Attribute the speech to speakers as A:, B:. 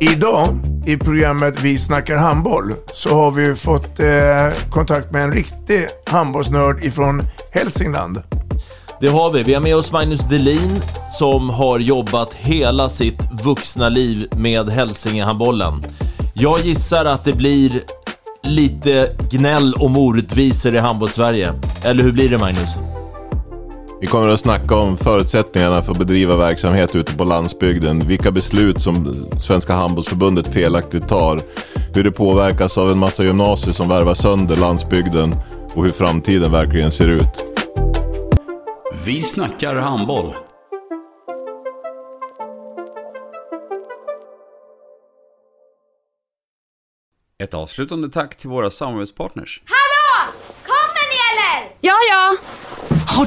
A: Idag i programmet Vi snackar handboll så har vi ju fått eh, kontakt med en riktig handbollsnörd ifrån Hälsingland.
B: Det har vi. Vi har med oss Magnus Delin som har jobbat hela sitt vuxna liv med Hälsingehandbollen. Jag gissar att det blir lite gnäll om orättvisor i handbollssverige. Eller hur blir det Magnus?
C: Vi kommer att snacka om förutsättningarna för att bedriva verksamhet ute på landsbygden. Vilka beslut som Svenska Handbollsförbundet felaktigt tar. Hur det påverkas av en massa gymnasier som värvar sönder landsbygden. Och hur framtiden verkligen ser ut.
D: Vi snackar handboll. Ett avslutande tack till våra samarbetspartners.
E: Hallå! Kommer ni eller?
F: Ja, ja.
G: Har